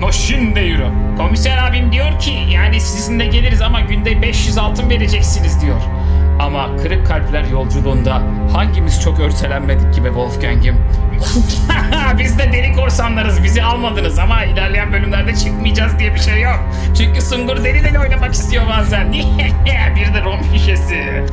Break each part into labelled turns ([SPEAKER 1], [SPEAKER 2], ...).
[SPEAKER 1] Koş şimdi yürü.
[SPEAKER 2] Komiser abim diyor ki yani sizinle geliriz ama günde 500 altın vereceksiniz diyor.
[SPEAKER 1] Ama kırık kalpler yolculuğunda hangimiz çok örselenmedik gibi Wolfgang'im?
[SPEAKER 2] Biz de deli korsanlarız bizi almadınız ama ilerleyen bölümlerde çıkmayacağız diye bir şey yok. Çünkü Sungur deli deli oynamak istiyor bazen. bir de rom şişesi.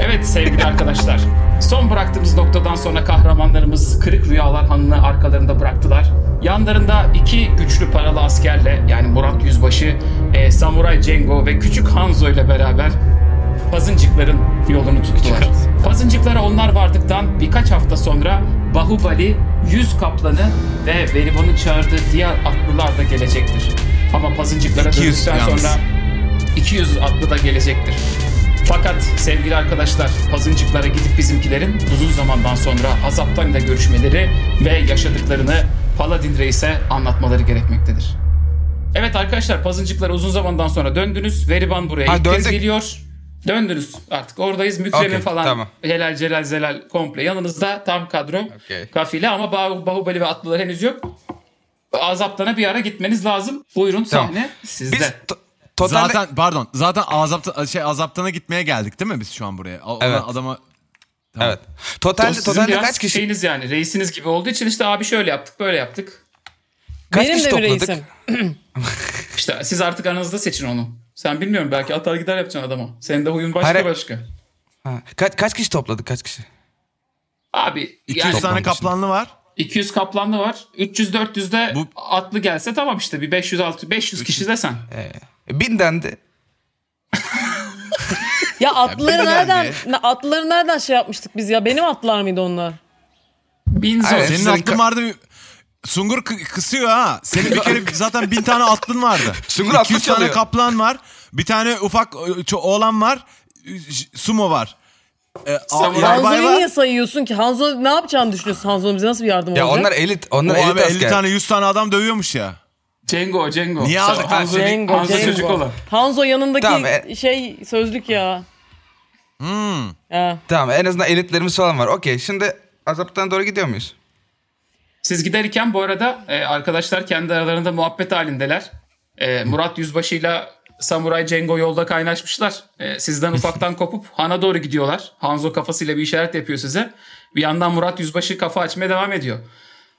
[SPEAKER 1] Evet sevgili arkadaşlar. Son bıraktığımız noktadan sonra kahramanlarımız Kırık Rüyalar Hanı'nı arkalarında bıraktılar. Yanlarında iki güçlü paralı askerle yani Murat Yüzbaşı, e, Samuray Cengo ve Küçük Hanzo ile beraber Pazıncıkların yolunu tuttular. Pazıncıklara onlar vardıktan birkaç hafta sonra Bahubali, Yüz Kaplanı ve Veriban'ın çağırdığı diğer atlılar da gelecektir. Ama Pazıncıklara
[SPEAKER 3] 200
[SPEAKER 1] döndükten
[SPEAKER 3] yalnız.
[SPEAKER 1] sonra 200 atlı da gelecektir. Fakat sevgili arkadaşlar pazıncıklara gidip bizimkilerin uzun zamandan sonra azaptan ile görüşmeleri ve yaşadıklarını Paladin Reis'e anlatmaları gerekmektedir. Evet arkadaşlar pazıncıklara uzun zamandan sonra döndünüz. Veriban buraya
[SPEAKER 3] Ha,
[SPEAKER 1] ilk kez
[SPEAKER 3] döndük.
[SPEAKER 1] geliyor. Döndünüz artık oradayız. Mükremin
[SPEAKER 3] Okey,
[SPEAKER 1] falan
[SPEAKER 3] tamam.
[SPEAKER 1] helal celal zelal komple yanınızda tam kadro.
[SPEAKER 3] Okey.
[SPEAKER 1] Kafile ama Bah- Bahubali ve atlılar henüz yok. Azaptan'a bir ara gitmeniz lazım. Buyurun
[SPEAKER 3] Tamam.
[SPEAKER 1] sahne sizde.
[SPEAKER 3] Biz to- totalde
[SPEAKER 4] Zaten pardon. Zaten azapta şey azaptana gitmeye geldik değil mi biz şu an buraya? O- ona
[SPEAKER 3] Evet.
[SPEAKER 4] Adama
[SPEAKER 3] evet.
[SPEAKER 1] O
[SPEAKER 3] Totalde
[SPEAKER 1] sizin
[SPEAKER 3] totalde
[SPEAKER 1] biraz
[SPEAKER 3] kaç kişi
[SPEAKER 1] Şeyiniz yani reisiniz gibi olduğu için işte abi şöyle yaptık böyle yaptık.
[SPEAKER 3] kaç
[SPEAKER 5] Benim
[SPEAKER 3] kişi
[SPEAKER 5] de bir
[SPEAKER 3] topladık?
[SPEAKER 5] reisim.
[SPEAKER 1] İşte siz artık aranızda seçin onu. Sen bilmiyorum belki atar gider yapacaksın adama. Senin de huyun başka
[SPEAKER 3] Hayır.
[SPEAKER 1] başka.
[SPEAKER 3] Ha, Kaç kaç kişi topladık? Kaç kişi?
[SPEAKER 1] Abi
[SPEAKER 4] 200
[SPEAKER 1] yani
[SPEAKER 4] tane
[SPEAKER 3] Toplam
[SPEAKER 4] kaplanlı var.
[SPEAKER 1] 200 kaplanlı var. 300-400'de
[SPEAKER 4] Bu-
[SPEAKER 1] atlı gelse tamam işte bir 500-600 500 kişi de sen.
[SPEAKER 3] Ee, bin dendi.
[SPEAKER 5] Ya atlıları
[SPEAKER 4] benim
[SPEAKER 5] nereden
[SPEAKER 4] nerede?
[SPEAKER 5] ne- atlıları nereden şey yapmıştık biz ya? Benim atlılar mıydı onlar?
[SPEAKER 1] 1000 zor.
[SPEAKER 3] Aynen.
[SPEAKER 4] Senin
[SPEAKER 3] Sizin
[SPEAKER 4] aklın
[SPEAKER 3] ka-
[SPEAKER 4] vardı. bir- Sungur kı- kısıyor ha. Senin bir kere zaten bin tane atlın vardı.
[SPEAKER 3] Sungur atlı
[SPEAKER 4] 200 tane
[SPEAKER 3] çalıyor.
[SPEAKER 4] kaplan var. Bir tane ufak e, ço- oğlan var. e, ş- Sumo var. E, a-
[SPEAKER 1] Samuray.
[SPEAKER 4] yarbay
[SPEAKER 5] Hanzo'yu niye
[SPEAKER 4] var.
[SPEAKER 5] sayıyorsun ki? Hanzo ne yapacağını düşünüyorsun? Hanzo bize nasıl bir yardım
[SPEAKER 3] Ya
[SPEAKER 5] olacak?
[SPEAKER 3] onlar elit,
[SPEAKER 4] O
[SPEAKER 3] onlar elit
[SPEAKER 4] abi 50
[SPEAKER 3] asker.
[SPEAKER 4] tane 100 tane adam dövüyormuş ya.
[SPEAKER 1] Cengo Cengo.
[SPEAKER 4] Niye
[SPEAKER 1] Sen-
[SPEAKER 4] aldık?
[SPEAKER 1] Hanzo-
[SPEAKER 5] Cengo,
[SPEAKER 1] Hanzo
[SPEAKER 5] Cengo.
[SPEAKER 1] çocuk olan.
[SPEAKER 5] Hanzo yanındaki
[SPEAKER 3] Tamam, e-
[SPEAKER 5] şey sözlük ya. Hmm.
[SPEAKER 3] Tamam en azından elitlerimiz falan var. Okey şimdi Azap'tan doğru gidiyor muyuz?
[SPEAKER 1] Siz giderken bu arada e, arkadaşlar kendi aralarında muhabbet halindeler. E, Murat Yüzbaşı'yla Samuray Cengo yolda kaynaşmışlar. E, sizden ufaktan kopup Han'a doğru gidiyorlar. Hanzo kafasıyla bir işaret yapıyor size. Bir yandan Murat Yüzbaşı kafa açmaya devam ediyor.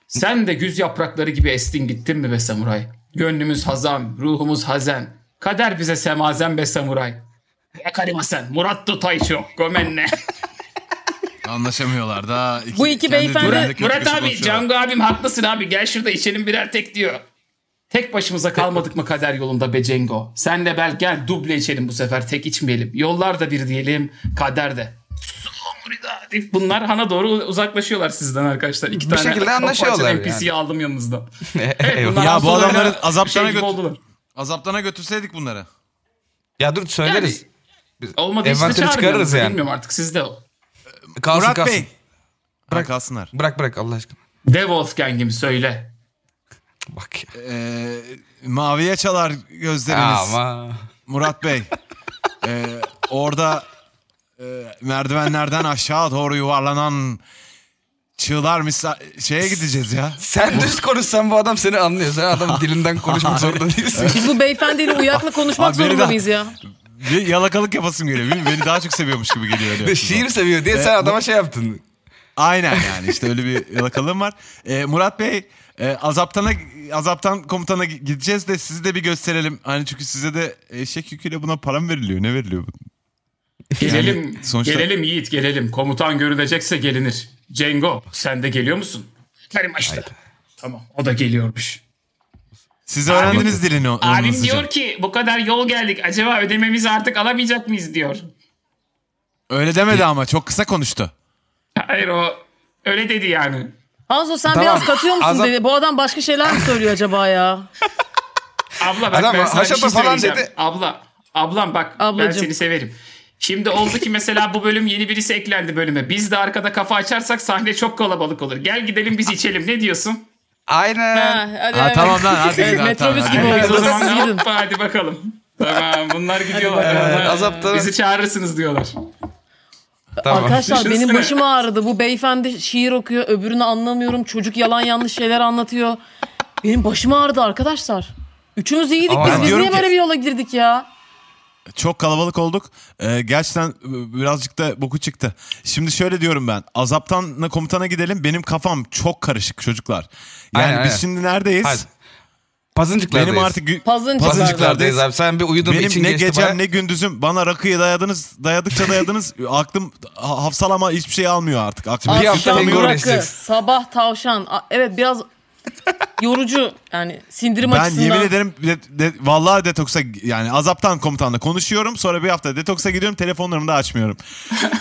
[SPEAKER 1] Sen de güz yaprakları gibi estin gittin mi be Samuray? Gönlümüz hazan, ruhumuz hazen. Kader bize semazen be Samuray. Yakarıma sen, Murat Tutayço, gomenle.
[SPEAKER 4] Anlaşamıyorlar da.
[SPEAKER 5] Bu iki
[SPEAKER 4] kendi
[SPEAKER 5] beyefendi-
[SPEAKER 4] düğününde
[SPEAKER 5] Murat-
[SPEAKER 4] kötü
[SPEAKER 1] Murat
[SPEAKER 4] kötü
[SPEAKER 1] abi,
[SPEAKER 4] konuşuyorlar.
[SPEAKER 1] Cango abim haklısın abi. Gel şurada içelim birer tek diyor. Tek başımıza kalmadık mı kader yolunda be Cengo? Senle bel gel duble içelim bu sefer tek içmeyelim. Yollar da bir diyelim kader de. Samuray'da deyip Bunlar hana doğru uzaklaşıyorlar sizden arkadaşlar. İki tane
[SPEAKER 3] şekilde
[SPEAKER 1] kafa açan
[SPEAKER 3] anlaşıyorlar
[SPEAKER 1] NPC'yi aldım yanımızda.
[SPEAKER 3] Eyvallah.
[SPEAKER 1] Bunlar
[SPEAKER 4] Ya bu
[SPEAKER 1] Hanzo'yla
[SPEAKER 4] adamları
[SPEAKER 1] şey
[SPEAKER 4] azaptana
[SPEAKER 1] gibi
[SPEAKER 4] götür-
[SPEAKER 1] oldular.
[SPEAKER 4] Azaptana götürseydik bunları.
[SPEAKER 3] ya dur söyleriz.
[SPEAKER 1] Yani- Olmadı işte
[SPEAKER 3] Envanteri
[SPEAKER 1] çağırmıyoruz.
[SPEAKER 3] çıkarırız yani.
[SPEAKER 1] Bilmiyorum artık sizde o.
[SPEAKER 3] kalsın
[SPEAKER 4] Murat
[SPEAKER 3] kalsın.
[SPEAKER 4] Bey. Bırak kalsınlar.
[SPEAKER 3] Bırak bırak Allah aşkına.
[SPEAKER 1] De Wolfgang'im söyle.
[SPEAKER 3] Bak ya.
[SPEAKER 4] Ee, maviye çalar gözleriniz
[SPEAKER 3] Ama.
[SPEAKER 4] Murat Bey. Ee, orada e, merdivenlerden aşağı doğru yuvarlanan çığlar misal şeye gideceğiz ya.
[SPEAKER 3] Sen düz konuşsan bu adam seni anlıyor. Sen adamın dilinden konuşmak zorunda değilsin.
[SPEAKER 5] Biz bu beyefendiyle uyakla konuşmak
[SPEAKER 4] Abi beni
[SPEAKER 5] zorunda
[SPEAKER 4] de-
[SPEAKER 5] mıyız ya?
[SPEAKER 4] Bir yalakalık yapasım geliyor. Bilmiyorum, Beni daha çok seviyormuş gibi geliyor. öyle
[SPEAKER 3] Şiir
[SPEAKER 4] yapınca.
[SPEAKER 3] seviyor diye sen adama şey yaptın.
[SPEAKER 4] Aynen yani işte öyle bir yalakalığım var. Ee, Murat Bey e, azaptana azaptan komutana gi- gideceğiz de sizi de bir gösterelim. Hani çünkü size de eşek yüküyle buna para mı veriliyor? Ne veriliyor?
[SPEAKER 1] Gelelim,
[SPEAKER 4] Yani sonuçta-
[SPEAKER 1] gelelim Yiğit gelelim. Komutan görülecekse gelinir. Cengo sen de geliyor musun? Karim açtı. Tamam o da geliyormuş.
[SPEAKER 4] Siz öğrendiniz dilini. o- onun
[SPEAKER 1] Abim
[SPEAKER 4] hızlıca.
[SPEAKER 1] diyor ki bu kadar yol geldik acaba ödememizi artık alamayacak mıyız diyor.
[SPEAKER 4] Öyle demedi ama çok kısa konuştu.
[SPEAKER 1] Hayır o öyle dedi yani.
[SPEAKER 5] Hanzo sen
[SPEAKER 3] Tamam.
[SPEAKER 5] biraz katıyor musun
[SPEAKER 3] Azap-
[SPEAKER 5] dedi. Bu adam başka şeyler mi söylüyor acaba ya?
[SPEAKER 1] Abla bak
[SPEAKER 3] Adam
[SPEAKER 1] ben sana bir
[SPEAKER 3] haşapa
[SPEAKER 1] şey
[SPEAKER 3] falan
[SPEAKER 1] söyleyeceğim.
[SPEAKER 3] dedi.
[SPEAKER 1] Abla, ablam bak ben
[SPEAKER 5] Ablacım.
[SPEAKER 1] seni severim. Şimdi oldu ki mesela bu bölüm yeni birisi eklendi bölüme. Biz de arkada kafa açarsak sahne çok kalabalık olur. Gel gidelim biz içelim ne diyorsun?
[SPEAKER 3] Aynen.
[SPEAKER 5] hadi,
[SPEAKER 4] Ha, tamam lan hadi
[SPEAKER 5] Evet,
[SPEAKER 4] gidin, ha, tamam,
[SPEAKER 5] metrobüs
[SPEAKER 4] hadi.
[SPEAKER 5] gibi
[SPEAKER 1] Biz o
[SPEAKER 5] oldu. Siz
[SPEAKER 1] zaman
[SPEAKER 5] gidin.
[SPEAKER 1] hoppa hadi bakalım. Tamam bunlar gidiyorlar.
[SPEAKER 3] Evet, azaptan-
[SPEAKER 1] Bizi çağırırsınız diyorlar.
[SPEAKER 3] Tamam.
[SPEAKER 5] Arkadaşlar benim
[SPEAKER 1] Düşünsene.
[SPEAKER 5] başım ağrıdı. Bu beyefendi şiir okuyor, öbürünü anlamıyorum. Çocuk yalan yanlış şeyler anlatıyor. Benim başım ağrıdı arkadaşlar. Üçümüz iyiydik
[SPEAKER 3] Ama
[SPEAKER 5] biz.
[SPEAKER 3] ben
[SPEAKER 5] Biz
[SPEAKER 4] diyorum
[SPEAKER 5] niye
[SPEAKER 4] ki-
[SPEAKER 5] böyle bir yola girdik ya?
[SPEAKER 4] Çok kalabalık olduk. Ee, gerçekten e, birazcık da boku çıktı. Şimdi şöyle diyorum ben. Azaptanla komutana gidelim. Benim kafam çok karışık çocuklar. Yani
[SPEAKER 3] Aynen,
[SPEAKER 4] biz
[SPEAKER 3] aynen.
[SPEAKER 4] şimdi neredeyiz?
[SPEAKER 3] Hadi. Pazıncıklardayız.
[SPEAKER 4] Benim artık gü-
[SPEAKER 5] Pazıncıklardayız.
[SPEAKER 3] Pazıncıklardayız abi. Sen bir uyudun
[SPEAKER 4] benim
[SPEAKER 3] için
[SPEAKER 4] ne
[SPEAKER 3] geçti
[SPEAKER 4] gecem
[SPEAKER 3] baya.
[SPEAKER 4] ne gündüzüm bana rakıyı dayadınız dayadıkça dayadınız aklım ha- hafsalama hiçbir şey almıyor artık. Aklım
[SPEAKER 3] Bir hafta
[SPEAKER 5] Akşam
[SPEAKER 3] tango
[SPEAKER 5] rakı,
[SPEAKER 3] uğraşacaksın.
[SPEAKER 5] sabah tavşan. A- Evet biraz yorucu yani sindirim
[SPEAKER 4] Ben
[SPEAKER 5] açısından.
[SPEAKER 4] yemin ederim de- de- vallahi detoksa yani azaptan komutanla konuşuyorum. Sonra bir hafta detoksa gidiyorum telefonlarımı da açmıyorum.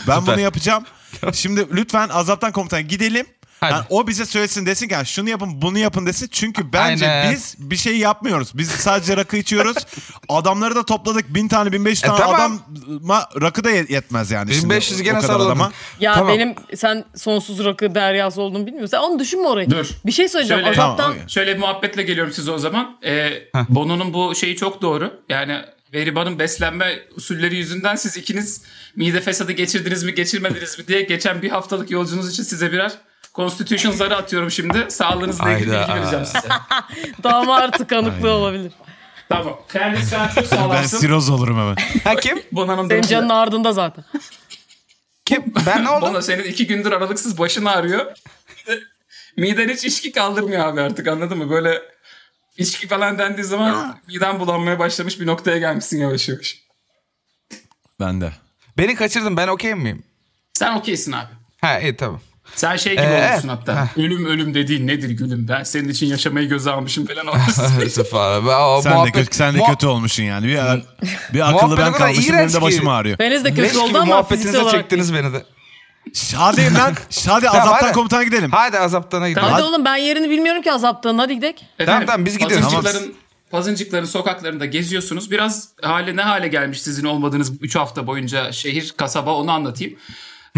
[SPEAKER 4] ben bunu yapacağım. Şimdi lütfen azaptan komutana gidelim.
[SPEAKER 3] Hadi.
[SPEAKER 4] Yani o bize söylesin desin ki "Ha, şunu yapın bunu yapın desin. Çünkü bence
[SPEAKER 3] Aynen.
[SPEAKER 4] biz bir şey yapmıyoruz. Biz sadece rakı içiyoruz. Adamları da topladık. Bin tane bin beş
[SPEAKER 3] E,
[SPEAKER 4] tane
[SPEAKER 3] tamam.
[SPEAKER 4] adama rakı da yet- yetmez yani. şimdi
[SPEAKER 3] 1500
[SPEAKER 4] o
[SPEAKER 3] gene
[SPEAKER 4] kadar
[SPEAKER 3] sarılalım.
[SPEAKER 4] adama.
[SPEAKER 5] Ya
[SPEAKER 3] Tamam.
[SPEAKER 5] benim sen sonsuz rakı deryası olduğunu bilmiyorum. Sen onu düşünme orayı.
[SPEAKER 1] Dur.
[SPEAKER 5] Bir şey söyleyeceğim.
[SPEAKER 1] Şöyle-
[SPEAKER 5] Azaptan
[SPEAKER 4] Tamam, okey.
[SPEAKER 1] Şöyle bir muhabbetle geliyorum size o zaman. Ee, Bono'nun bu şeyi çok doğru. Yani Veriban'ın beslenme usulleri yüzünden siz ikiniz mide fesadı geçirdiniz mi geçirmediniz mi diye geçen bir haftalık yolculuğunuz için size birer Constitution zarı atıyorum şimdi. Sağlığınızla ilgili
[SPEAKER 3] Hayda.
[SPEAKER 1] bilgi vereceğim size.
[SPEAKER 5] damar tıkanıklığı olabilir.
[SPEAKER 1] tamam. Kendiniz şu an çok
[SPEAKER 4] Ben
[SPEAKER 1] sağlamsın.
[SPEAKER 4] siroz olurum hemen.
[SPEAKER 3] Ha kim?
[SPEAKER 1] Bono'nun
[SPEAKER 5] Senin
[SPEAKER 1] dönüşü-
[SPEAKER 5] canın ardında zaten.
[SPEAKER 3] Kim? Ben ne oldum?
[SPEAKER 1] Bono senin iki gündür aralıksız başın ağrıyor. Miden hiç içki kaldırmıyor abi artık anladın mı? Böyle içki falan dendiği zaman miden bulanmaya başlamış bir noktaya gelmişsin yavaş yavaş.
[SPEAKER 4] Ben de.
[SPEAKER 3] Beni kaçırdın ben okey miyim?
[SPEAKER 1] Sen okeysin abi.
[SPEAKER 3] Ha iyi tamam.
[SPEAKER 1] Sen şey gibi
[SPEAKER 3] Ee,
[SPEAKER 1] olursun hatta. Ölüm ölüm dediğin nedir gülüm? Ben senin için yaşamayı göze almışım falan olursun.
[SPEAKER 3] Yusuf abi. ben o
[SPEAKER 4] Sen
[SPEAKER 3] muhabbet-
[SPEAKER 4] de kötü, sen de
[SPEAKER 3] muha-
[SPEAKER 4] kötü olmuşsun yani. Bir, bir akıllı
[SPEAKER 3] Muhabbet o
[SPEAKER 4] ben
[SPEAKER 3] kadar
[SPEAKER 4] kalmışım benim
[SPEAKER 3] iğrenç
[SPEAKER 4] de
[SPEAKER 3] ki.
[SPEAKER 4] başım ağrıyor.
[SPEAKER 5] Beniz de
[SPEAKER 3] Leş
[SPEAKER 5] kötü
[SPEAKER 3] gibi
[SPEAKER 5] oldu ama fiziksel
[SPEAKER 3] muhabbetinize
[SPEAKER 5] olarak. değil.
[SPEAKER 3] çektiniz beni de.
[SPEAKER 4] Hadi lan. Hadi azaptan
[SPEAKER 3] hadi.
[SPEAKER 4] komutana gidelim.
[SPEAKER 3] Hadi azaptana gidelim.
[SPEAKER 5] Hadi
[SPEAKER 4] Hadi.
[SPEAKER 5] oğlum ben yerini bilmiyorum ki azaptan. Hadi gidelim.
[SPEAKER 1] Efendim,
[SPEAKER 3] tamam, biz gidiyoruz.
[SPEAKER 1] Pazıncıkların, pazıncıkların sokaklarında geziyorsunuz. Biraz hale ne hale gelmiş sizin olmadığınız 3 hafta boyunca şehir, kasaba onu anlatayım.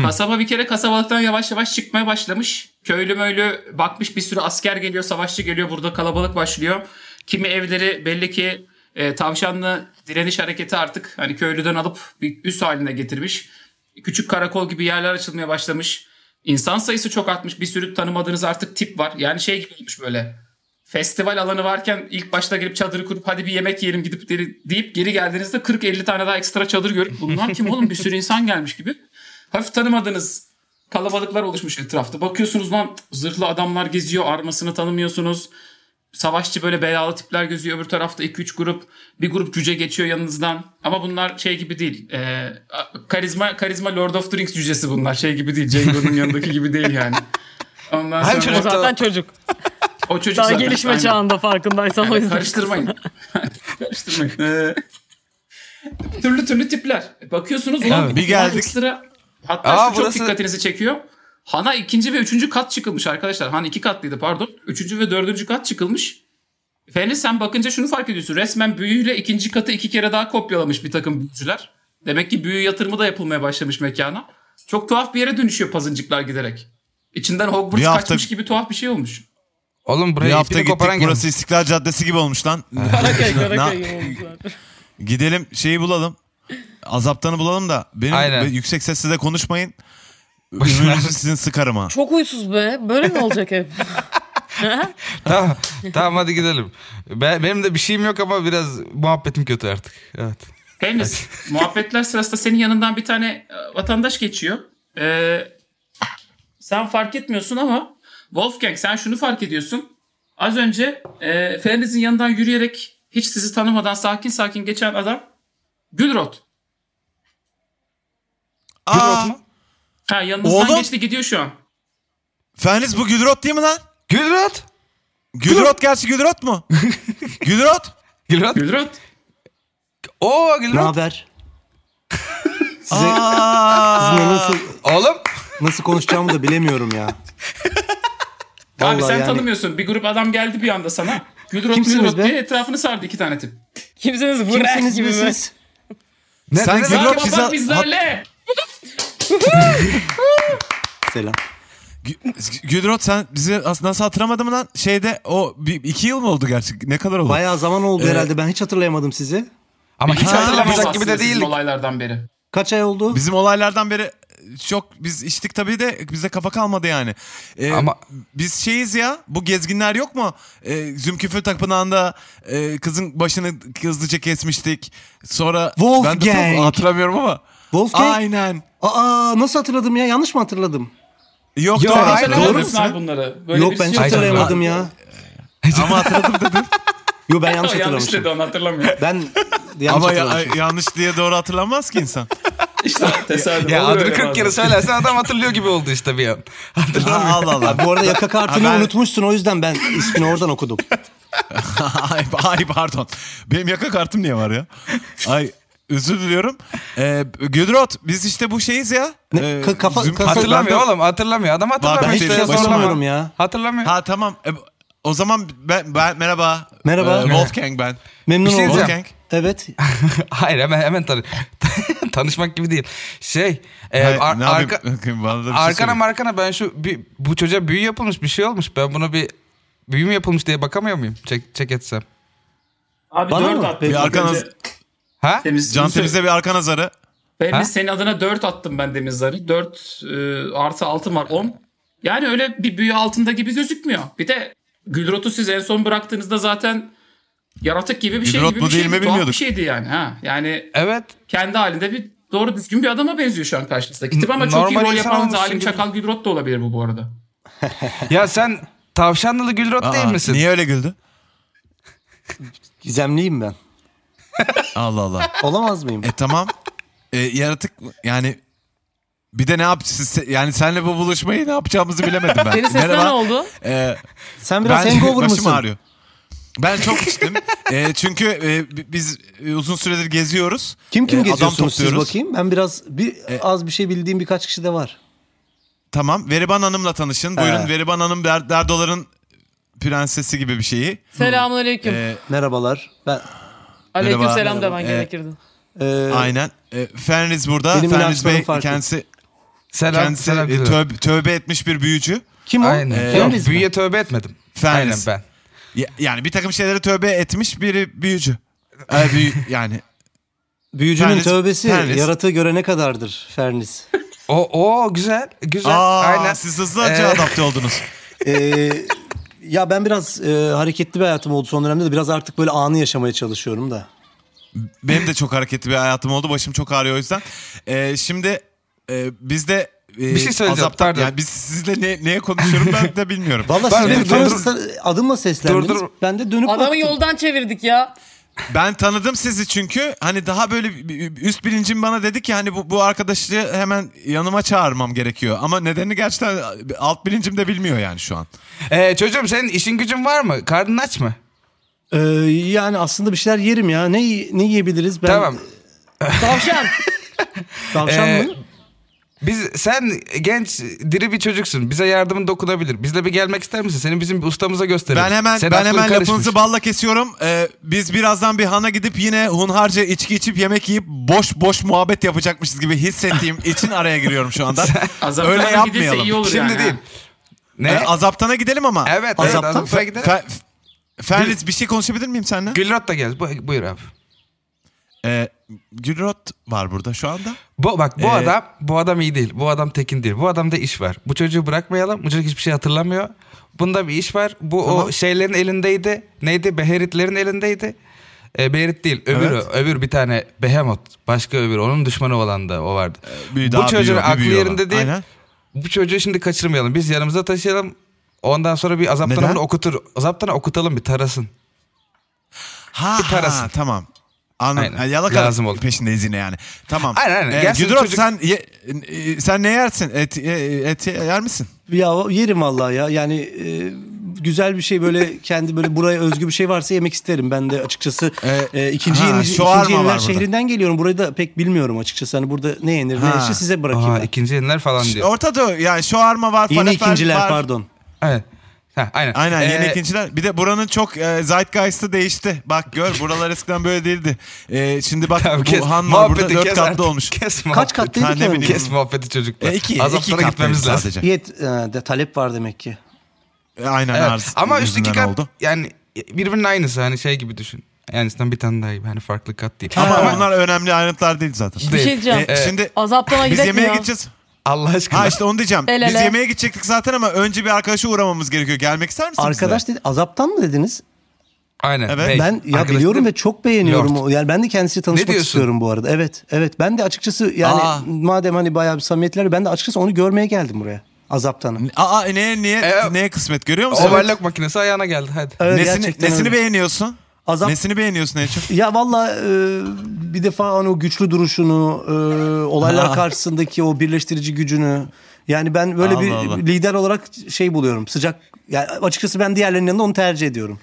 [SPEAKER 1] Kasaba bir kere kasabalıktan yavaş yavaş çıkmaya başlamış. Köylü möylü bakmış bir sürü asker geliyor, savaşçı geliyor. Burada kalabalık başlıyor. Kimi evleri belli ki e, tavşanlı direniş hareketi artık hani köylüden alıp bir üst haline getirmiş. Küçük karakol gibi yerler açılmaya başlamış. İnsan sayısı çok artmış. Bir sürü tanımadığınız artık tip var. Yani şey gibi olmuş böyle festival alanı varken ilk başta gelip çadırı kurup hadi bir yemek yiyelim gidip deri- deyip geri geldiğinizde 40-50 tane daha ekstra çadır görüp bunlar kim oğlum bir sürü insan gelmiş gibi. Hafif tanımadığınız kalabalıklar oluşmuş etrafta. Bakıyorsunuz lan zırhlı adamlar geziyor armasını tanımıyorsunuz. Savaşçı böyle belalı tipler geziyor öbür tarafta 2-3 grup bir grup cüce geçiyor yanınızdan ama bunlar şey gibi değil Ee, a- karizma karizma Lord of the Rings cücesi bunlar şey gibi değil Django'nun yanındaki gibi değil yani. Ondan
[SPEAKER 3] Hangi
[SPEAKER 1] sonra
[SPEAKER 5] O
[SPEAKER 3] çocuk?
[SPEAKER 5] zaten çocuk.
[SPEAKER 1] o çocuk
[SPEAKER 5] Daha
[SPEAKER 1] zaten-
[SPEAKER 5] gelişme
[SPEAKER 1] Aynen.
[SPEAKER 5] çağında farkındaysan o
[SPEAKER 1] Evet,
[SPEAKER 5] yüzden.
[SPEAKER 1] karıştırmayın. karıştırmayın. Ee, türlü türlü tipler. Bakıyorsunuz ulan
[SPEAKER 4] Evet, bir
[SPEAKER 1] bunlar
[SPEAKER 4] geldik.
[SPEAKER 1] ekstra. Hatta
[SPEAKER 3] Aa,
[SPEAKER 1] şu çok
[SPEAKER 3] burası-
[SPEAKER 1] dikkatinizi çekiyor. Hana ikinci ve üçüncü kat çıkılmış arkadaşlar. Han iki katlıydı pardon. Üçüncü ve dördüncü kat çıkılmış. Feni sen bakınca şunu fark ediyorsun. Resmen büyüyle ikinci katı iki kere daha kopyalamış bir takım büyücüler. Demek ki büyü yatırımı da yapılmaya başlamış mekana. Çok tuhaf bir yere dönüşüyor pazıncıklar giderek. İçinden Hogwarts
[SPEAKER 4] Bir hafta-
[SPEAKER 1] kaçmış gibi tuhaf bir şey olmuş.
[SPEAKER 3] Oğlum
[SPEAKER 4] Bir
[SPEAKER 3] buraya
[SPEAKER 4] hafta
[SPEAKER 3] ipini
[SPEAKER 4] gittik
[SPEAKER 3] koparan
[SPEAKER 4] burası
[SPEAKER 3] geldi.
[SPEAKER 4] İstiklal Caddesi gibi olmuş lan.
[SPEAKER 5] Karakay karakay
[SPEAKER 4] Na-
[SPEAKER 5] gibi oldu zaten.
[SPEAKER 4] Gidelim şeyi bulalım. Azaptanı bulalım da benim
[SPEAKER 3] Aynen.
[SPEAKER 4] be- yüksek sesle de konuşmayın.
[SPEAKER 3] Başına-
[SPEAKER 4] Ömrünüzü sizin sıkarım ha.
[SPEAKER 5] Çok huysuz be. Böyle mi olacak hep?
[SPEAKER 3] Tamam, tamam hadi gidelim. Ben, benim de bir şeyim yok ama biraz muhabbetim kötü artık. Evet.
[SPEAKER 1] Henüz muhabbetler sırasında senin yanından bir tane e, vatandaş geçiyor. Ee, sen fark etmiyorsun ama Wolfgang sen şunu fark ediyorsun. Az önce e, Fereniz'in yanından yürüyerek hiç sizi tanımadan sakin sakin geçen adam Gülrot.
[SPEAKER 4] Aa,
[SPEAKER 1] Ha yanınızdan
[SPEAKER 4] Oğlum.
[SPEAKER 1] geçti gidiyor şu an.
[SPEAKER 4] Ferniz bu Gülrot değil mi lan?
[SPEAKER 3] Gülrot.
[SPEAKER 4] Gülrot gerçi Gülrot mu? Gülrot.
[SPEAKER 3] Gülrot.
[SPEAKER 1] Gülrot.
[SPEAKER 3] Oo
[SPEAKER 6] Ne
[SPEAKER 3] Gülrot.
[SPEAKER 6] haber? Size
[SPEAKER 4] Aa,
[SPEAKER 6] sizinle nasıl
[SPEAKER 3] Oğlum.
[SPEAKER 6] nasıl konuşacağımı da bilemiyorum ya.
[SPEAKER 1] Abi
[SPEAKER 6] Vallahi
[SPEAKER 1] sen
[SPEAKER 6] yani-
[SPEAKER 1] tanımıyorsun. Bir grup adam geldi bir anda sana. Gülrot
[SPEAKER 6] Kimsiniz
[SPEAKER 1] Gülrot
[SPEAKER 6] be?
[SPEAKER 1] diye etrafını sardı iki tane tip.
[SPEAKER 5] Kimsiniz vırak
[SPEAKER 6] Kimsiniz
[SPEAKER 5] gibi
[SPEAKER 6] be
[SPEAKER 5] mi?
[SPEAKER 6] siz?
[SPEAKER 3] Ne,
[SPEAKER 4] Sen
[SPEAKER 3] ne demek
[SPEAKER 4] Gülrot
[SPEAKER 3] ki bu?
[SPEAKER 1] Merhaba
[SPEAKER 4] bize-
[SPEAKER 1] bak bizlerle.
[SPEAKER 6] Selam.
[SPEAKER 4] Gü- Gülrot sen bizi as- nasıl hatırlamadın mı lan? Şeyde o bir, iki yıl mı oldu gerçi? Ne kadar oldu?
[SPEAKER 6] Bayağı zaman oldu herhalde. Ben hiç hatırlayamadım sizi.
[SPEAKER 3] Ama hiç
[SPEAKER 1] Hiç hatırlamaz
[SPEAKER 3] hatırlamayacak gibi
[SPEAKER 1] aslında
[SPEAKER 3] de
[SPEAKER 1] sizin
[SPEAKER 3] değildik.
[SPEAKER 1] olaylardan beri.
[SPEAKER 6] Kaç ay oldu?
[SPEAKER 4] Bizim olaylardan beri çok biz içtik tabii de bize kafa kalmadı yani. Ee,
[SPEAKER 3] Ama-
[SPEAKER 4] biz şeyiz ya bu gezginler yok mu? Ee, Zümküfü Tapınağı'nda e, kızın başını hızlıca kesmiştik. Sonra ben de
[SPEAKER 6] Wolfgang.
[SPEAKER 4] tam hatırlamıyorum ama.
[SPEAKER 6] Wolfgang?
[SPEAKER 4] Aynen.
[SPEAKER 6] Aa nasıl hatırladım ya? Yanlış mı hatırladım?
[SPEAKER 4] Yok
[SPEAKER 3] Yok,
[SPEAKER 4] doğru.
[SPEAKER 3] aynen.
[SPEAKER 4] doğru.
[SPEAKER 1] Doğru
[SPEAKER 3] Doğru
[SPEAKER 1] musun abi bunları? Böyle şey
[SPEAKER 6] Yok
[SPEAKER 1] birisi
[SPEAKER 6] ben hiç
[SPEAKER 1] yok.
[SPEAKER 3] Hayır,
[SPEAKER 6] hatırlayamadım ya.
[SPEAKER 4] Ama hatırladım dedin.
[SPEAKER 6] Yok ben yanlış
[SPEAKER 1] Yanlış
[SPEAKER 6] hatırlamışım.
[SPEAKER 1] dedi onu hatırlamıyorum.
[SPEAKER 6] Ben yanlış
[SPEAKER 4] ama ya-
[SPEAKER 6] hatırlamışım.
[SPEAKER 4] yanlış diye doğru hatırlanmaz ki insan.
[SPEAKER 1] İşte tesadüf.
[SPEAKER 3] Ya
[SPEAKER 1] Olur
[SPEAKER 3] adını
[SPEAKER 1] öyle
[SPEAKER 3] 40 kere
[SPEAKER 1] bazen.
[SPEAKER 3] söylersen adam hatırlıyor gibi oldu işte bir an.
[SPEAKER 4] Ha,
[SPEAKER 3] Hatırlamıyor.
[SPEAKER 4] Allah Allah.
[SPEAKER 6] Bu arada yaka kartını
[SPEAKER 4] Ha, ben-
[SPEAKER 6] unutmuşsun o yüzden ben ismini oradan okudum.
[SPEAKER 4] ay, ay pardon. Benim yaka kartım niye var ya? Ay özür diliyorum. Ee, Güdrot biz işte bu şeyiz ya. Ee,
[SPEAKER 6] Ne? Ka- kafa-
[SPEAKER 4] Züm-
[SPEAKER 6] kafa-
[SPEAKER 3] Hatırlamıyor
[SPEAKER 4] Ben de-
[SPEAKER 3] oğlum hatırlamıyor. Adam hatırlamıyor.
[SPEAKER 4] Ben
[SPEAKER 6] hiçbir şey
[SPEAKER 3] Sorma.
[SPEAKER 6] hatırlamıyorum ya.
[SPEAKER 3] Hatırlamıyor.
[SPEAKER 4] Ha tamam. E, o zaman ben, ben merhaba.
[SPEAKER 6] Merhaba.
[SPEAKER 4] Ee, Wolfgang ben.
[SPEAKER 6] Memnun
[SPEAKER 3] Bir şey
[SPEAKER 6] oldum.
[SPEAKER 4] diyeceğim.
[SPEAKER 6] Evet.
[SPEAKER 3] Hayır hemen hemen tanı tanışmak gibi değil. Şey e,
[SPEAKER 4] Hayır,
[SPEAKER 3] ar-
[SPEAKER 4] ne
[SPEAKER 3] arka
[SPEAKER 4] yapayım? Bana da bir şey
[SPEAKER 3] arkana
[SPEAKER 4] söyle.
[SPEAKER 3] markana ben şu bir, bu çocuğa büyü yapılmış bir şey olmuş. Ben buna bir büyü mü yapılmış diye bakamıyor muyum? Çek, çek etsem.
[SPEAKER 1] Abi
[SPEAKER 6] Bana
[SPEAKER 1] dört
[SPEAKER 6] mı?
[SPEAKER 1] attım.
[SPEAKER 4] Bir
[SPEAKER 1] az
[SPEAKER 4] arkana-
[SPEAKER 1] önce.
[SPEAKER 3] Ha?
[SPEAKER 1] Temiz,
[SPEAKER 4] Can temize bir arka nazarı.
[SPEAKER 1] Ben
[SPEAKER 3] Ha?
[SPEAKER 1] biz senin adına 4 attım ben Demizleri. 4 artı 6 var 10. Yani öyle bir büyü altında gibi gözükmüyor. Bir de Gülrot'u siz en son bıraktığınızda zaten yaratık gibi bir şey
[SPEAKER 4] Gülrot
[SPEAKER 1] gibi
[SPEAKER 4] mu
[SPEAKER 1] bir
[SPEAKER 4] değil
[SPEAKER 1] şeydi.
[SPEAKER 4] mi
[SPEAKER 1] Tuhaf bir
[SPEAKER 4] bilmiyorduk.
[SPEAKER 1] şeydi yani. Ha. Yani
[SPEAKER 3] Evet.
[SPEAKER 1] kendi halinde bir doğru düzgün bir adama benziyor şu an karşınızdaki tip ama çok iyi
[SPEAKER 3] normal
[SPEAKER 1] rol
[SPEAKER 3] insan
[SPEAKER 1] yapan
[SPEAKER 3] olmuşsun
[SPEAKER 1] Zalim
[SPEAKER 3] gibi.
[SPEAKER 1] Çakal Gülrot da olabilir bu bu arada.
[SPEAKER 3] Ya sen tavşanlı Gülrot değil
[SPEAKER 4] Aa,
[SPEAKER 3] misin?
[SPEAKER 4] Niye öyle güldü?
[SPEAKER 6] Gizemliyim ben.
[SPEAKER 4] Allah Allah.
[SPEAKER 6] Olamaz mıyım?
[SPEAKER 4] E tamam. E, yaratık mı? yani bir de ne yap siz- yani senle bu buluşmayı ne yapacağımızı bilemedim ben.
[SPEAKER 5] Senin sesine ne oldu?
[SPEAKER 4] E,
[SPEAKER 6] Sen biraz
[SPEAKER 4] ben-
[SPEAKER 6] hangover
[SPEAKER 4] başım
[SPEAKER 6] mısın?
[SPEAKER 4] ağrıyor. Ben çok içtim. E, çünkü e, bi- biz e, uzun süredir geziyoruz.
[SPEAKER 6] Kim kim
[SPEAKER 4] E, adam
[SPEAKER 6] geziyorsunuz siz
[SPEAKER 4] topluyoruz.
[SPEAKER 6] bakayım? Ben biraz bir
[SPEAKER 3] E,
[SPEAKER 6] az bir şey bildiğim birkaç kişi de var.
[SPEAKER 4] Tamam. Veriban Hanım'la tanışın. Buyurun
[SPEAKER 6] He.
[SPEAKER 4] Veriban Hanım Der- Derdolar'ın prensesi gibi bir şeyi.
[SPEAKER 5] Selamünaleyküm.
[SPEAKER 4] E,
[SPEAKER 6] Merhabalar. Ben
[SPEAKER 5] Aleyküm
[SPEAKER 4] merhaba.
[SPEAKER 5] selam demen
[SPEAKER 4] Ee,
[SPEAKER 5] gerekirdi.
[SPEAKER 3] Ee,
[SPEAKER 6] e,
[SPEAKER 4] Aynen. E, Fenriz burada.
[SPEAKER 6] Benim
[SPEAKER 4] Fenriz
[SPEAKER 6] ilaçlarım
[SPEAKER 4] Bey
[SPEAKER 6] farklı.
[SPEAKER 4] kendisi
[SPEAKER 3] Selam,
[SPEAKER 4] kendisi
[SPEAKER 3] selam
[SPEAKER 4] e,
[SPEAKER 3] Gülrot.
[SPEAKER 4] tövbe, tövbe etmiş bir büyücü.
[SPEAKER 6] kim o?
[SPEAKER 3] Aynen.
[SPEAKER 6] Ee,
[SPEAKER 3] Yok,
[SPEAKER 6] Fenriz mi?
[SPEAKER 3] büyüye tövbe etmedim.
[SPEAKER 4] Fenriz.
[SPEAKER 3] Aynen ben.
[SPEAKER 4] Ya- Yani bir takım şeylere tövbe etmiş biri büyücü. E, büyü- yani
[SPEAKER 6] Büyücünün
[SPEAKER 4] Fenriz-
[SPEAKER 6] tövbesi
[SPEAKER 4] Fenriz.
[SPEAKER 6] yaratığı görene kadardır Ferniz.
[SPEAKER 3] O o güzel güzel.
[SPEAKER 4] Aa,
[SPEAKER 3] Aynen.
[SPEAKER 4] siz hızlı acı
[SPEAKER 3] Ee,
[SPEAKER 4] adapte oldunuz.
[SPEAKER 3] E,
[SPEAKER 6] Ee, ya ben biraz e, hareketli bir hayatım oldu son dönemde de biraz artık böyle anı yaşamaya çalışıyorum da.
[SPEAKER 4] Benim de çok hareketli bir hayatım oldu. Başım çok ağrıyor o yüzden. Ee, şimdi e, biz de e,
[SPEAKER 3] Bir şey söyleyeceğim,
[SPEAKER 4] azaptan-
[SPEAKER 3] pardon.
[SPEAKER 4] yani biz sizle ne, neye konuşuyorum ben de bilmiyorum.
[SPEAKER 6] Valla
[SPEAKER 3] Ben-
[SPEAKER 6] siz beni
[SPEAKER 3] dur,
[SPEAKER 6] tanırsınız, adımla seslendiniz.
[SPEAKER 3] Dur, dur.
[SPEAKER 6] Ben de dönüp
[SPEAKER 5] Adamı
[SPEAKER 6] baktım.
[SPEAKER 5] yoldan çevirdik ya.
[SPEAKER 4] ben tanıdım sizi çünkü hani daha böyle bir- üst bilincim bana dedi ki hani bu, bu arkadaşı hemen yanıma çağırmam gerekiyor. Ama nedenini gerçekten e, alt bilincim de bilmiyor yani şu an.
[SPEAKER 3] Ee, çocuğum senin işin gücün var mı? Karnın aç mı?
[SPEAKER 6] Ee, yani aslında bir şeyler yerim ya. Ne ne yiyebiliriz? Ben
[SPEAKER 3] Tamam.
[SPEAKER 5] Tavşan.
[SPEAKER 6] tavşan
[SPEAKER 3] Ee,
[SPEAKER 6] mı?
[SPEAKER 3] Biz sen genç diri bir çocuksun. Bize yardımın dokunabilir. Bizle bir gelmek ister misin? Seni bizim bir ustamıza gösterelim.
[SPEAKER 4] Ben hemen
[SPEAKER 3] Senin
[SPEAKER 4] ben
[SPEAKER 3] aklın
[SPEAKER 4] hemen
[SPEAKER 3] karışmış.
[SPEAKER 4] lafınızı balla kesiyorum. Ee, biz birazdan bir hana gidip yine hunharca içki içip yemek yiyip boş boş muhabbet yapacakmışız gibi hissettiğim için araya giriyorum şu anda.
[SPEAKER 1] Azaptan
[SPEAKER 4] Öyle
[SPEAKER 1] gidilse iyi
[SPEAKER 4] yapmayalım.
[SPEAKER 1] olur
[SPEAKER 3] Şimdi
[SPEAKER 1] yani.
[SPEAKER 3] değil.
[SPEAKER 1] ha.
[SPEAKER 3] Ne?
[SPEAKER 4] Ee, azaptana gidelim ama.
[SPEAKER 3] evet, evet
[SPEAKER 6] Azaptan
[SPEAKER 3] azaptan
[SPEAKER 4] Fe-
[SPEAKER 3] gidelim.
[SPEAKER 4] Fe- Ferlis bir şey konuşabilir miyim seninle?
[SPEAKER 3] Gülrot da gel. Bu- Buyur abi.
[SPEAKER 4] Ee, Gülrot var burada şu anda.
[SPEAKER 3] Bu, bak bu
[SPEAKER 4] Ee,
[SPEAKER 3] adam bu adam iyi değil. Bu adam tekin değil. Bu adamda iş var. Bu çocuğu bırakmayalım. Bu çocuk hiçbir şey hatırlamıyor. Bunda bir iş var. Bu o şeylerin elindeydi. Neydi? Beheritlerin elindeydi. E, Beherit değil. Öbürü.
[SPEAKER 4] Evet.
[SPEAKER 3] Öbür bir tane Behemoth. Başka öbürü. Onun düşmanı olan da o vardı.
[SPEAKER 4] büyü-
[SPEAKER 3] bu
[SPEAKER 4] daha
[SPEAKER 3] çocuğun
[SPEAKER 4] büyüyor, Ee, bir
[SPEAKER 3] aklı
[SPEAKER 4] büyüyor
[SPEAKER 3] yerinde
[SPEAKER 4] olan.
[SPEAKER 3] değil.
[SPEAKER 4] Aynen.
[SPEAKER 3] Bu çocuğu şimdi kaçırmayalım. Biz yanımıza taşıyalım. Ondan sonra bir azaptan
[SPEAKER 4] Neden?
[SPEAKER 3] bunu okutur. Azaptan okutalım bir tarasın.
[SPEAKER 4] Ha,
[SPEAKER 3] Bir tarasın.
[SPEAKER 4] ha tamam. Anladım.
[SPEAKER 3] Aynen.
[SPEAKER 4] Ha, yalaka
[SPEAKER 3] Lazım oldu.
[SPEAKER 4] peşindeyiz yine yani. Tamam.
[SPEAKER 3] Aynen, aynen. Gelsin
[SPEAKER 4] Gülrot
[SPEAKER 3] çocuk-
[SPEAKER 4] sen ye- e, sen ne yersin? Et, e, et yer misin?
[SPEAKER 6] Ya yerim vallahi ya. Yani e, güzel bir şey böyle kendi böyle buraya özgü bir şey varsa yemek isterim. Ben de açıkçası
[SPEAKER 4] Ee,
[SPEAKER 6] e, ikinci
[SPEAKER 4] ha,
[SPEAKER 6] yeni
[SPEAKER 4] şoarma
[SPEAKER 6] ikinci
[SPEAKER 4] var
[SPEAKER 6] yeniler
[SPEAKER 4] burada.
[SPEAKER 6] şehrinden geliyorum. Burayı da pek bilmiyorum açıkçası. Hani burada ne yenir
[SPEAKER 4] Ha.
[SPEAKER 6] ne içir size bırakayım
[SPEAKER 3] Aa,
[SPEAKER 6] ben.
[SPEAKER 3] ikinci yeniler falan diyor.
[SPEAKER 4] Orta Doğu yani şu arma var,
[SPEAKER 6] Yeni
[SPEAKER 4] falafel
[SPEAKER 6] ikinciler
[SPEAKER 4] var.
[SPEAKER 6] pardon.
[SPEAKER 3] Evet. Ha, aynen.
[SPEAKER 4] Aynen yeni
[SPEAKER 3] Ee,
[SPEAKER 4] ikinciler. Bir de buranın çok e, zeitgeist'ı değişti. Bak gör buralar eskiden böyle değildi. E, şimdi bak
[SPEAKER 3] Tamam, kes.
[SPEAKER 4] bu han var burada
[SPEAKER 3] Muhabbeti
[SPEAKER 4] dört
[SPEAKER 3] kes
[SPEAKER 4] katlı
[SPEAKER 3] artık.
[SPEAKER 4] olmuş.
[SPEAKER 3] Kes
[SPEAKER 6] Kaç
[SPEAKER 3] muhabbeti.
[SPEAKER 6] katlıydı
[SPEAKER 4] Ha,
[SPEAKER 6] ki?
[SPEAKER 4] ne
[SPEAKER 6] onun?
[SPEAKER 4] bileyim.
[SPEAKER 3] Kes muhabbeti çocuklar.
[SPEAKER 4] E, iki,
[SPEAKER 3] Azaplara
[SPEAKER 4] iki katlıydı
[SPEAKER 3] gitmemiz lazım.
[SPEAKER 4] sadece.
[SPEAKER 6] Yet e, de talep var demek ki.
[SPEAKER 4] E, Aynen
[SPEAKER 3] Evet.
[SPEAKER 4] arz
[SPEAKER 3] Ama üst iki
[SPEAKER 4] yüzünden
[SPEAKER 3] kat
[SPEAKER 4] oldu.
[SPEAKER 3] yani birbirinin aynısı hani şey gibi düşün. Yani üstten bir tane daha iyi. Hani farklı kat değil.
[SPEAKER 4] Ama onlar önemli ayrıntılar değil zaten.
[SPEAKER 5] Bir
[SPEAKER 3] Değil.
[SPEAKER 5] şey diyeceğim.
[SPEAKER 4] E, şimdi
[SPEAKER 5] Azaptana
[SPEAKER 4] biz
[SPEAKER 5] gidelim
[SPEAKER 4] yemeğe
[SPEAKER 5] ya.
[SPEAKER 4] gideceğiz.
[SPEAKER 3] Allah aşkına.
[SPEAKER 4] Ha işte onu diyeceğim.
[SPEAKER 5] El
[SPEAKER 4] Biz
[SPEAKER 5] ele.
[SPEAKER 4] yemeğe gidecektik zaten ama önce bir arkadaşa uğramamız gerekiyor. Gelmek ister misin
[SPEAKER 6] Arkadaş dedi azaptan mı dediniz?
[SPEAKER 3] Aynen.
[SPEAKER 4] Evet.
[SPEAKER 3] bey.
[SPEAKER 6] Ben ya
[SPEAKER 3] Arkadaş
[SPEAKER 6] biliyorum
[SPEAKER 3] dedim,
[SPEAKER 6] ve çok beğeniyorum.
[SPEAKER 3] Lord.
[SPEAKER 6] o- Yani ben de kendisiyle tanışmak
[SPEAKER 3] diyorsun?
[SPEAKER 6] istiyorum bu arada. Evet. Evet. Ben de açıkçası yani
[SPEAKER 3] Aa.
[SPEAKER 6] madem hani bayağı bir samimiyetler ben de açıkçası onu görmeye geldim buraya. Azaptan'ı.
[SPEAKER 4] bize? Aa neye niye
[SPEAKER 3] E,
[SPEAKER 4] neye kısmet görüyor musun?
[SPEAKER 3] Overlock makinesi ayağına geldi hadi.
[SPEAKER 6] Evet,
[SPEAKER 4] Nesini,
[SPEAKER 6] gerçekten öyle.
[SPEAKER 4] nesini beğeniyorsun?
[SPEAKER 6] Azap-
[SPEAKER 4] Nesini beğeniyorsun en çok?
[SPEAKER 6] Ya valla bir defa hani o güçlü duruşunu, e, olaylar
[SPEAKER 4] Ha.
[SPEAKER 6] karşısındaki o birleştirici gücünü. Yani ben böyle bir
[SPEAKER 4] Allah Allah.
[SPEAKER 6] lider olarak şey buluyorum. Sıcak. Yani açıkçası ben diğerlerinin yanında onu tercih ediyorum.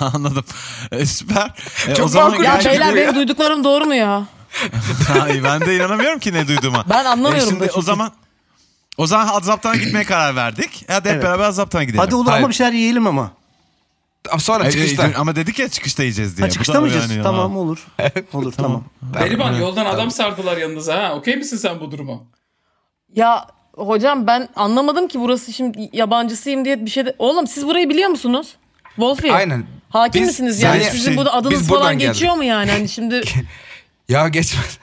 [SPEAKER 4] Anladım. E, süper. E,
[SPEAKER 3] Çok
[SPEAKER 4] o zaman
[SPEAKER 3] makul
[SPEAKER 5] Ya
[SPEAKER 3] Gerçi
[SPEAKER 5] beyler
[SPEAKER 3] bu ya.
[SPEAKER 5] benim duyduklarım doğru mu ya?
[SPEAKER 4] Ay, ben de inanamıyorum ki ne duyduğuma.
[SPEAKER 5] Ben anlamıyorum
[SPEAKER 4] E, şimdi
[SPEAKER 5] da çünkü.
[SPEAKER 4] o zaman o zaman Azaptan'a gitmeye karar verdik. Hadi hep
[SPEAKER 6] Evet.
[SPEAKER 4] beraber Azaptan'a gidelim.
[SPEAKER 6] Hadi olur
[SPEAKER 3] Hayır.
[SPEAKER 6] ama bir şeyler yiyelim ama.
[SPEAKER 3] Ama Sonra
[SPEAKER 4] Ay,
[SPEAKER 3] çıkışta.
[SPEAKER 4] ay, dur, ama dedik ya çıkışta yiyeceğiz diye.
[SPEAKER 6] Ha,
[SPEAKER 4] Bu da
[SPEAKER 6] çıkışta mı yiyeceğiz?
[SPEAKER 4] yani,
[SPEAKER 6] Tamam
[SPEAKER 4] ha.
[SPEAKER 6] olur. Olur tamam.
[SPEAKER 1] Berivan yoldan adam sardılar yanınıza ha. Okey misin sen bu duruma?
[SPEAKER 5] Ya hocam ben anlamadım ki burası şimdi yabancısıyım diye bir şey de... Oğlum siz burayı biliyor musunuz? Wolfie.
[SPEAKER 3] Aynen.
[SPEAKER 5] Hakim
[SPEAKER 3] Biz-
[SPEAKER 5] misiniz yani?
[SPEAKER 3] yani-
[SPEAKER 5] Sizin burada
[SPEAKER 3] Biz
[SPEAKER 5] adınız
[SPEAKER 3] buradan
[SPEAKER 5] falan
[SPEAKER 3] geldik.
[SPEAKER 5] geçiyor mu yani? Hani şimdi
[SPEAKER 3] Ya geçmez.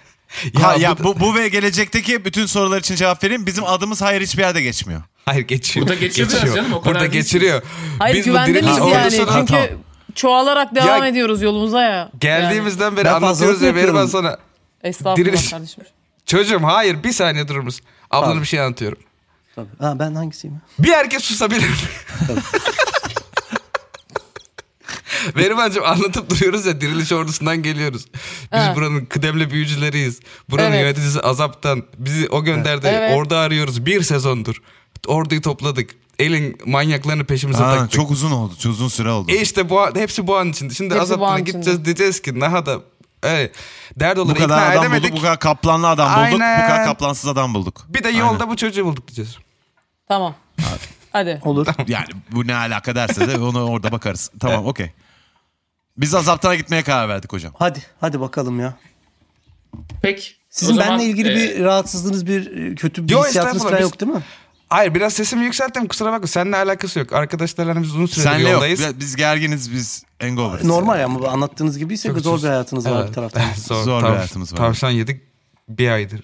[SPEAKER 4] Ya,
[SPEAKER 3] Ya,
[SPEAKER 4] ha, ya
[SPEAKER 3] bu-
[SPEAKER 4] bu, bu ve gelecekteki bütün sorular için cevap vereyim. Bizim adımız hayır hiçbir yerde geçmiyor.
[SPEAKER 3] Hayır geçiyor.
[SPEAKER 1] Burada geçiyor biraz canım, o kadar
[SPEAKER 3] Burada
[SPEAKER 1] değilsin.
[SPEAKER 3] geçiriyor.
[SPEAKER 5] hayır
[SPEAKER 3] Biz bu
[SPEAKER 5] güvende
[SPEAKER 3] direkt-
[SPEAKER 5] miyiz
[SPEAKER 3] Ha, orada
[SPEAKER 5] yani?
[SPEAKER 3] sonra-
[SPEAKER 5] Çünkü
[SPEAKER 4] tamam.
[SPEAKER 5] çoğalarak devam
[SPEAKER 3] Ya-
[SPEAKER 5] ediyoruz yolumuza ya. Yani.
[SPEAKER 3] Geldiğimizden beri
[SPEAKER 6] Ben
[SPEAKER 3] anlatıyoruz
[SPEAKER 6] fazlalık
[SPEAKER 3] ya Berivan
[SPEAKER 6] yapıyorum.
[SPEAKER 3] sana.
[SPEAKER 5] Estağfurullah
[SPEAKER 3] diriliş-
[SPEAKER 5] kardeşim.
[SPEAKER 3] Çocuğum hayır bir saniye durur musun? Ablana
[SPEAKER 6] Abi.
[SPEAKER 3] bir şey anlatıyorum.
[SPEAKER 6] Ha, ben hangisiyim?
[SPEAKER 3] Bir erkek susabilir mi? Berivancığım anlatıp duruyoruz ya diriliş ordusundan geliyoruz. Biz
[SPEAKER 5] Evet.
[SPEAKER 3] buranın kıdemli büyücüleriyiz. Buranın
[SPEAKER 5] Evet.
[SPEAKER 3] yöneticisi Azap'tan. Bizi o gönderdi.
[SPEAKER 5] Evet.
[SPEAKER 3] Orada arıyoruz bir sezondur. Orduyu topladık. Elin manyaklarını peşimize
[SPEAKER 4] Ha,
[SPEAKER 3] taktık.
[SPEAKER 4] çok uzun oldu. Çok uzun süre oldu.
[SPEAKER 3] E işte bu an- hepsi bu an içinde. Şimdi
[SPEAKER 5] Hepsi bu
[SPEAKER 3] Azap'tan
[SPEAKER 5] an
[SPEAKER 3] gideceğiz
[SPEAKER 5] içinde.
[SPEAKER 3] diyeceğiz ki daha da e, dert
[SPEAKER 4] bu
[SPEAKER 3] olur
[SPEAKER 4] kadar
[SPEAKER 3] ikna
[SPEAKER 4] adam
[SPEAKER 3] edemedik.
[SPEAKER 4] bulduk, bu kadar kaplanlı adam bulduk, bu
[SPEAKER 3] Aynen.
[SPEAKER 4] kadar kaplansız adam bulduk.
[SPEAKER 3] Bir de yolda bu çocuğu bulduk diyeceğiz.
[SPEAKER 5] Tamam. Hadi.
[SPEAKER 6] Olur.
[SPEAKER 4] Yani bu ne alaka derse de onu orada bakarız. Tamam okey. Biz Azaptan'a gitmeye karar verdik hocam.
[SPEAKER 6] Hadi hadi bakalım ya.
[SPEAKER 1] Peki.
[SPEAKER 6] Sizin
[SPEAKER 1] O zaman,
[SPEAKER 6] benle ilgili
[SPEAKER 1] e,
[SPEAKER 6] bir rahatsızlığınız, bir e, kötü bir
[SPEAKER 3] Yo,
[SPEAKER 6] hissiyatınız
[SPEAKER 3] estağfurullah,
[SPEAKER 6] falan
[SPEAKER 3] biz-
[SPEAKER 6] yok değil mi?
[SPEAKER 3] Hayır biraz sesimi yükselttim kusura bakma. Seninle alakası yok. Arkadaşlarla hani biz uzun süredir
[SPEAKER 4] Senle yok.
[SPEAKER 3] yoldayız.
[SPEAKER 4] Biz- Biz gerginiz, biz engoverız.
[SPEAKER 6] Normal ama bu anlattığınız gibiyse zor bir hayatınız var
[SPEAKER 3] Evet.
[SPEAKER 6] bir taraftan.
[SPEAKER 3] Zor,
[SPEAKER 4] Zor bir
[SPEAKER 3] tav-
[SPEAKER 4] hayatımız var.
[SPEAKER 3] Tavşan yedik bir aydır.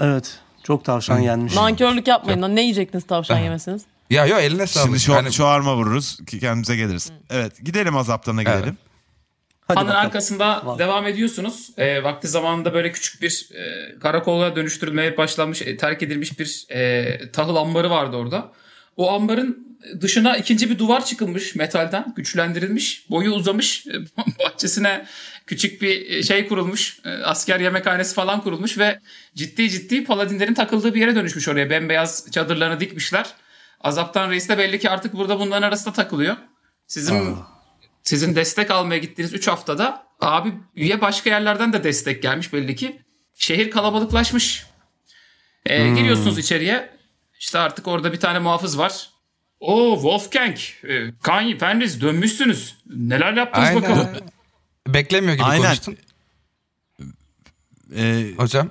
[SPEAKER 6] Evet. Çok tavşan yenmiş.
[SPEAKER 5] Nankörlük yapmayın lan. Ne yiyecektiniz tavşan yemesiniz?
[SPEAKER 3] Ya yo eline sağlık. Hani
[SPEAKER 4] Şimdi şu,
[SPEAKER 3] Yani-
[SPEAKER 4] şu arma vururuz ki kendimize geliriz. Evet gidelim Azaptan'a
[SPEAKER 3] Evet.
[SPEAKER 4] gidelim.
[SPEAKER 6] Hadi
[SPEAKER 1] Hanın
[SPEAKER 6] bakalım.
[SPEAKER 1] arkasında devam ediyorsunuz. E, vakti zamanında böyle küçük bir e, karakola dönüştürülmeye başlanmış, e, terk edilmiş bir e, tahıl ambarı vardı orada. O ambarın dışına ikinci bir duvar çıkılmış metalden, güçlendirilmiş, boyu uzamış, e, bahçesine küçük bir e, şey kurulmuş, e, asker yemekhanesi falan kurulmuş ve ciddi ciddi paladinlerin takıldığı bir yere dönüşmüş oraya. Bembeyaz çadırlarını dikmişler. Azaptan reis de belli ki artık burada bunların arasında takılıyor. Sizin sizin destek almaya gittiğiniz 3 haftada abi üye başka yerlerden de destek gelmiş belli ki. Şehir kalabalıklaşmış. Ee,
[SPEAKER 4] Hmm.
[SPEAKER 1] Giriyorsunuz içeriye. İşte artık orada bir tane muhafız var. O Wolfgang, e, Kanye, Fenris dönmüşsünüz. Neler yaptınız
[SPEAKER 3] Aynen.
[SPEAKER 1] bakalım.
[SPEAKER 3] Beklemiyor gibi
[SPEAKER 4] Aynen.
[SPEAKER 3] konuştun.
[SPEAKER 4] Ee,
[SPEAKER 3] Hocam.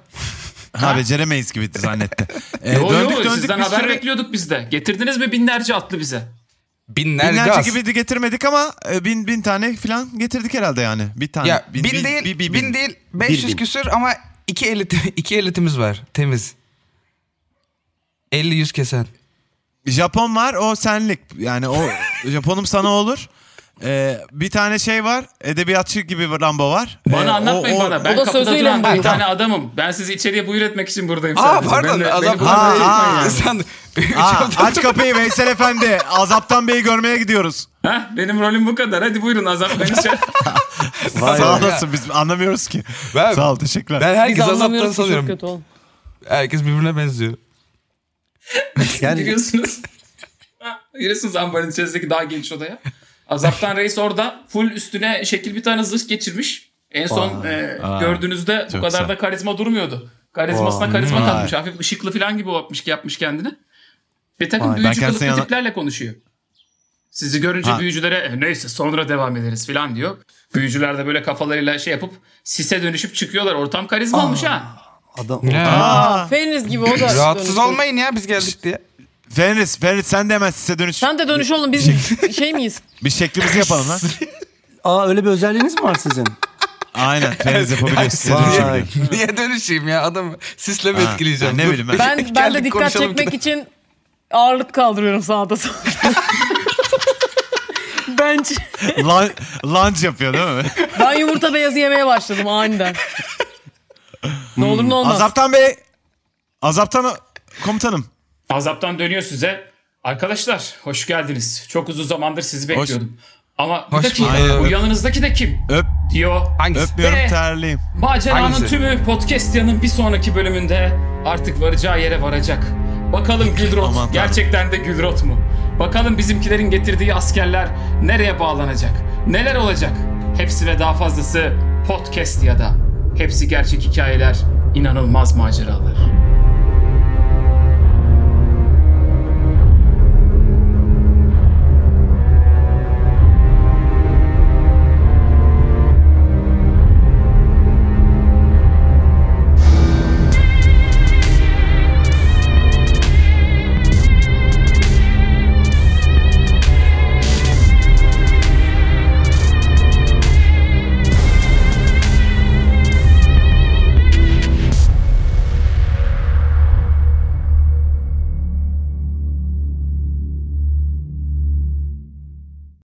[SPEAKER 4] ha beceremeyiz gibi zannetti. Ee,
[SPEAKER 1] Yo,
[SPEAKER 4] döndük
[SPEAKER 1] yo,
[SPEAKER 4] döndük
[SPEAKER 1] sizden
[SPEAKER 4] bir
[SPEAKER 1] haber
[SPEAKER 4] sürü-
[SPEAKER 1] bekliyorduk biz de. Getirdiniz mi binlerce atlı bize?
[SPEAKER 3] Binler
[SPEAKER 4] Binlerce
[SPEAKER 3] gaz.
[SPEAKER 4] gibi de getirmedik ama e, bin bin tane falan getirdik herhalde yani. Bir tane.
[SPEAKER 3] Ya bin, değil,
[SPEAKER 4] bir- bir-
[SPEAKER 3] bin, değil 500
[SPEAKER 6] bin.
[SPEAKER 3] küsür ama iki elit iki elitimiz var temiz. 50 yüz kesen.
[SPEAKER 4] Japon var o senlik. Yani o Japonum sana olur. Ee, bir tane şey var. Edebiyatçı gibi bir Rambo var.
[SPEAKER 1] Bana
[SPEAKER 4] Ee, o-
[SPEAKER 1] anlatmayın
[SPEAKER 4] o-
[SPEAKER 1] bana. Ben
[SPEAKER 5] o da
[SPEAKER 1] kapıda
[SPEAKER 5] sözüyle mi
[SPEAKER 1] duran bir
[SPEAKER 5] buyurdu?
[SPEAKER 1] tane adamım. Ben sizi içeriye buyur etmek için buradayım
[SPEAKER 3] Aa
[SPEAKER 1] sadece.
[SPEAKER 3] pardon.
[SPEAKER 1] Benimle-
[SPEAKER 3] azap.
[SPEAKER 1] beni bu-
[SPEAKER 4] Aa,
[SPEAKER 3] Aa,
[SPEAKER 4] aa.
[SPEAKER 3] Sen-
[SPEAKER 4] Aa, aç kapıyı Veysel Efendi. Azaptan Bey'i görmeye gidiyoruz.
[SPEAKER 1] Heh, benim rolüm bu kadar. Hadi buyurun azap beni şey.
[SPEAKER 6] Vay
[SPEAKER 4] Sağ
[SPEAKER 3] be.
[SPEAKER 4] olasın biz anlamıyoruz ki.
[SPEAKER 3] Ben-
[SPEAKER 4] Sağ ol teşekkürler.
[SPEAKER 3] Ben
[SPEAKER 5] Biz
[SPEAKER 3] herkes azaptan
[SPEAKER 5] anlamıyoruz ki çok
[SPEAKER 3] sanıyorum.
[SPEAKER 5] kötü oğlum.
[SPEAKER 3] Herkes birbirine benziyor.
[SPEAKER 6] Yani
[SPEAKER 1] Giriyorsunuz. Ha, Giriyorsunuz ambarın içerisindeki daha geniş odaya. Azaptan Reis orada full üstüne şekil bir tane zırh geçirmiş. En son e, gördüğünüzde bu
[SPEAKER 4] çok
[SPEAKER 1] kadar
[SPEAKER 4] güzel.
[SPEAKER 1] da karizma durmuyordu. Karizmasına karizma
[SPEAKER 4] vay.
[SPEAKER 1] katmış. Hafif ışıklı falan gibi yapmış, yapmış kendini. Bir takım
[SPEAKER 6] Vay. Ben
[SPEAKER 1] büyücü
[SPEAKER 4] kendisine
[SPEAKER 1] kılıklı
[SPEAKER 4] yana-
[SPEAKER 1] tiplerle konuşuyor. Sizi görünce
[SPEAKER 4] Ha.
[SPEAKER 1] büyücülere "E, neyse sonra devam ederiz falan diyor. Büyücüler de böyle kafalarıyla şey yapıp sise dönüşüp çıkıyorlar. Ortam karizma olmuş ha.
[SPEAKER 6] adam
[SPEAKER 4] Aa,
[SPEAKER 5] Fenris gibi o da.
[SPEAKER 3] Rahatsız
[SPEAKER 5] dönüşüyor.
[SPEAKER 3] olmayın ya biz geldik diye.
[SPEAKER 4] Ferris, Ferris sen de hemen size dönüş.
[SPEAKER 5] Sen de dönüş oğlum biz şey miyiz?
[SPEAKER 4] Bir şeklimizi yapalım lan.
[SPEAKER 6] Aa öyle bir özelliğiniz mi var sizin?
[SPEAKER 4] Aynen treniz yapabiliyorsun.
[SPEAKER 6] Vay.
[SPEAKER 4] Dönüşebiliyor.
[SPEAKER 3] Niye dönüşeyim ya adamı sisle mi
[SPEAKER 4] Ha,
[SPEAKER 3] etkileyeceğim?
[SPEAKER 4] ne
[SPEAKER 3] Dur.
[SPEAKER 4] bileyim ben.
[SPEAKER 5] Ben, ben de
[SPEAKER 3] Geldik,
[SPEAKER 5] dikkat
[SPEAKER 3] konuşalım
[SPEAKER 5] çekmek
[SPEAKER 3] bir de.
[SPEAKER 5] için ağırlık kaldırıyorum sağda solda. Bence.
[SPEAKER 4] Lan- Lunge yapıyor değil mi?
[SPEAKER 5] Ben yumurta beyazı yemeye başladım aniden. ne olur ne olmaz.
[SPEAKER 4] Azaptan Bey. Azaptan komutanım.
[SPEAKER 1] Azaptan dönüyor size. Arkadaşlar hoş geldiniz. Çok uzun zamandır sizi bekliyordum. Ama bir
[SPEAKER 3] Hoş
[SPEAKER 1] dakika
[SPEAKER 3] bulduk.
[SPEAKER 1] bu yanınızdaki de kim?
[SPEAKER 4] Öp,
[SPEAKER 1] Diyor.
[SPEAKER 3] Hangisi?
[SPEAKER 4] öpmüyorum
[SPEAKER 1] Be.
[SPEAKER 4] terliyim.
[SPEAKER 1] Maceranın
[SPEAKER 3] Hangisi?
[SPEAKER 1] tümü podcastiyanın bir sonraki bölümünde artık varacağı yere varacak. Bakalım Gülrot
[SPEAKER 4] Aman tanrım.
[SPEAKER 1] gerçekten de Gülrot mu? Bakalım bizimkilerin getirdiği askerler nereye bağlanacak? Neler olacak? Hepsi ve daha fazlası podcast ya da hepsi gerçek hikayeler, inanılmaz maceralar.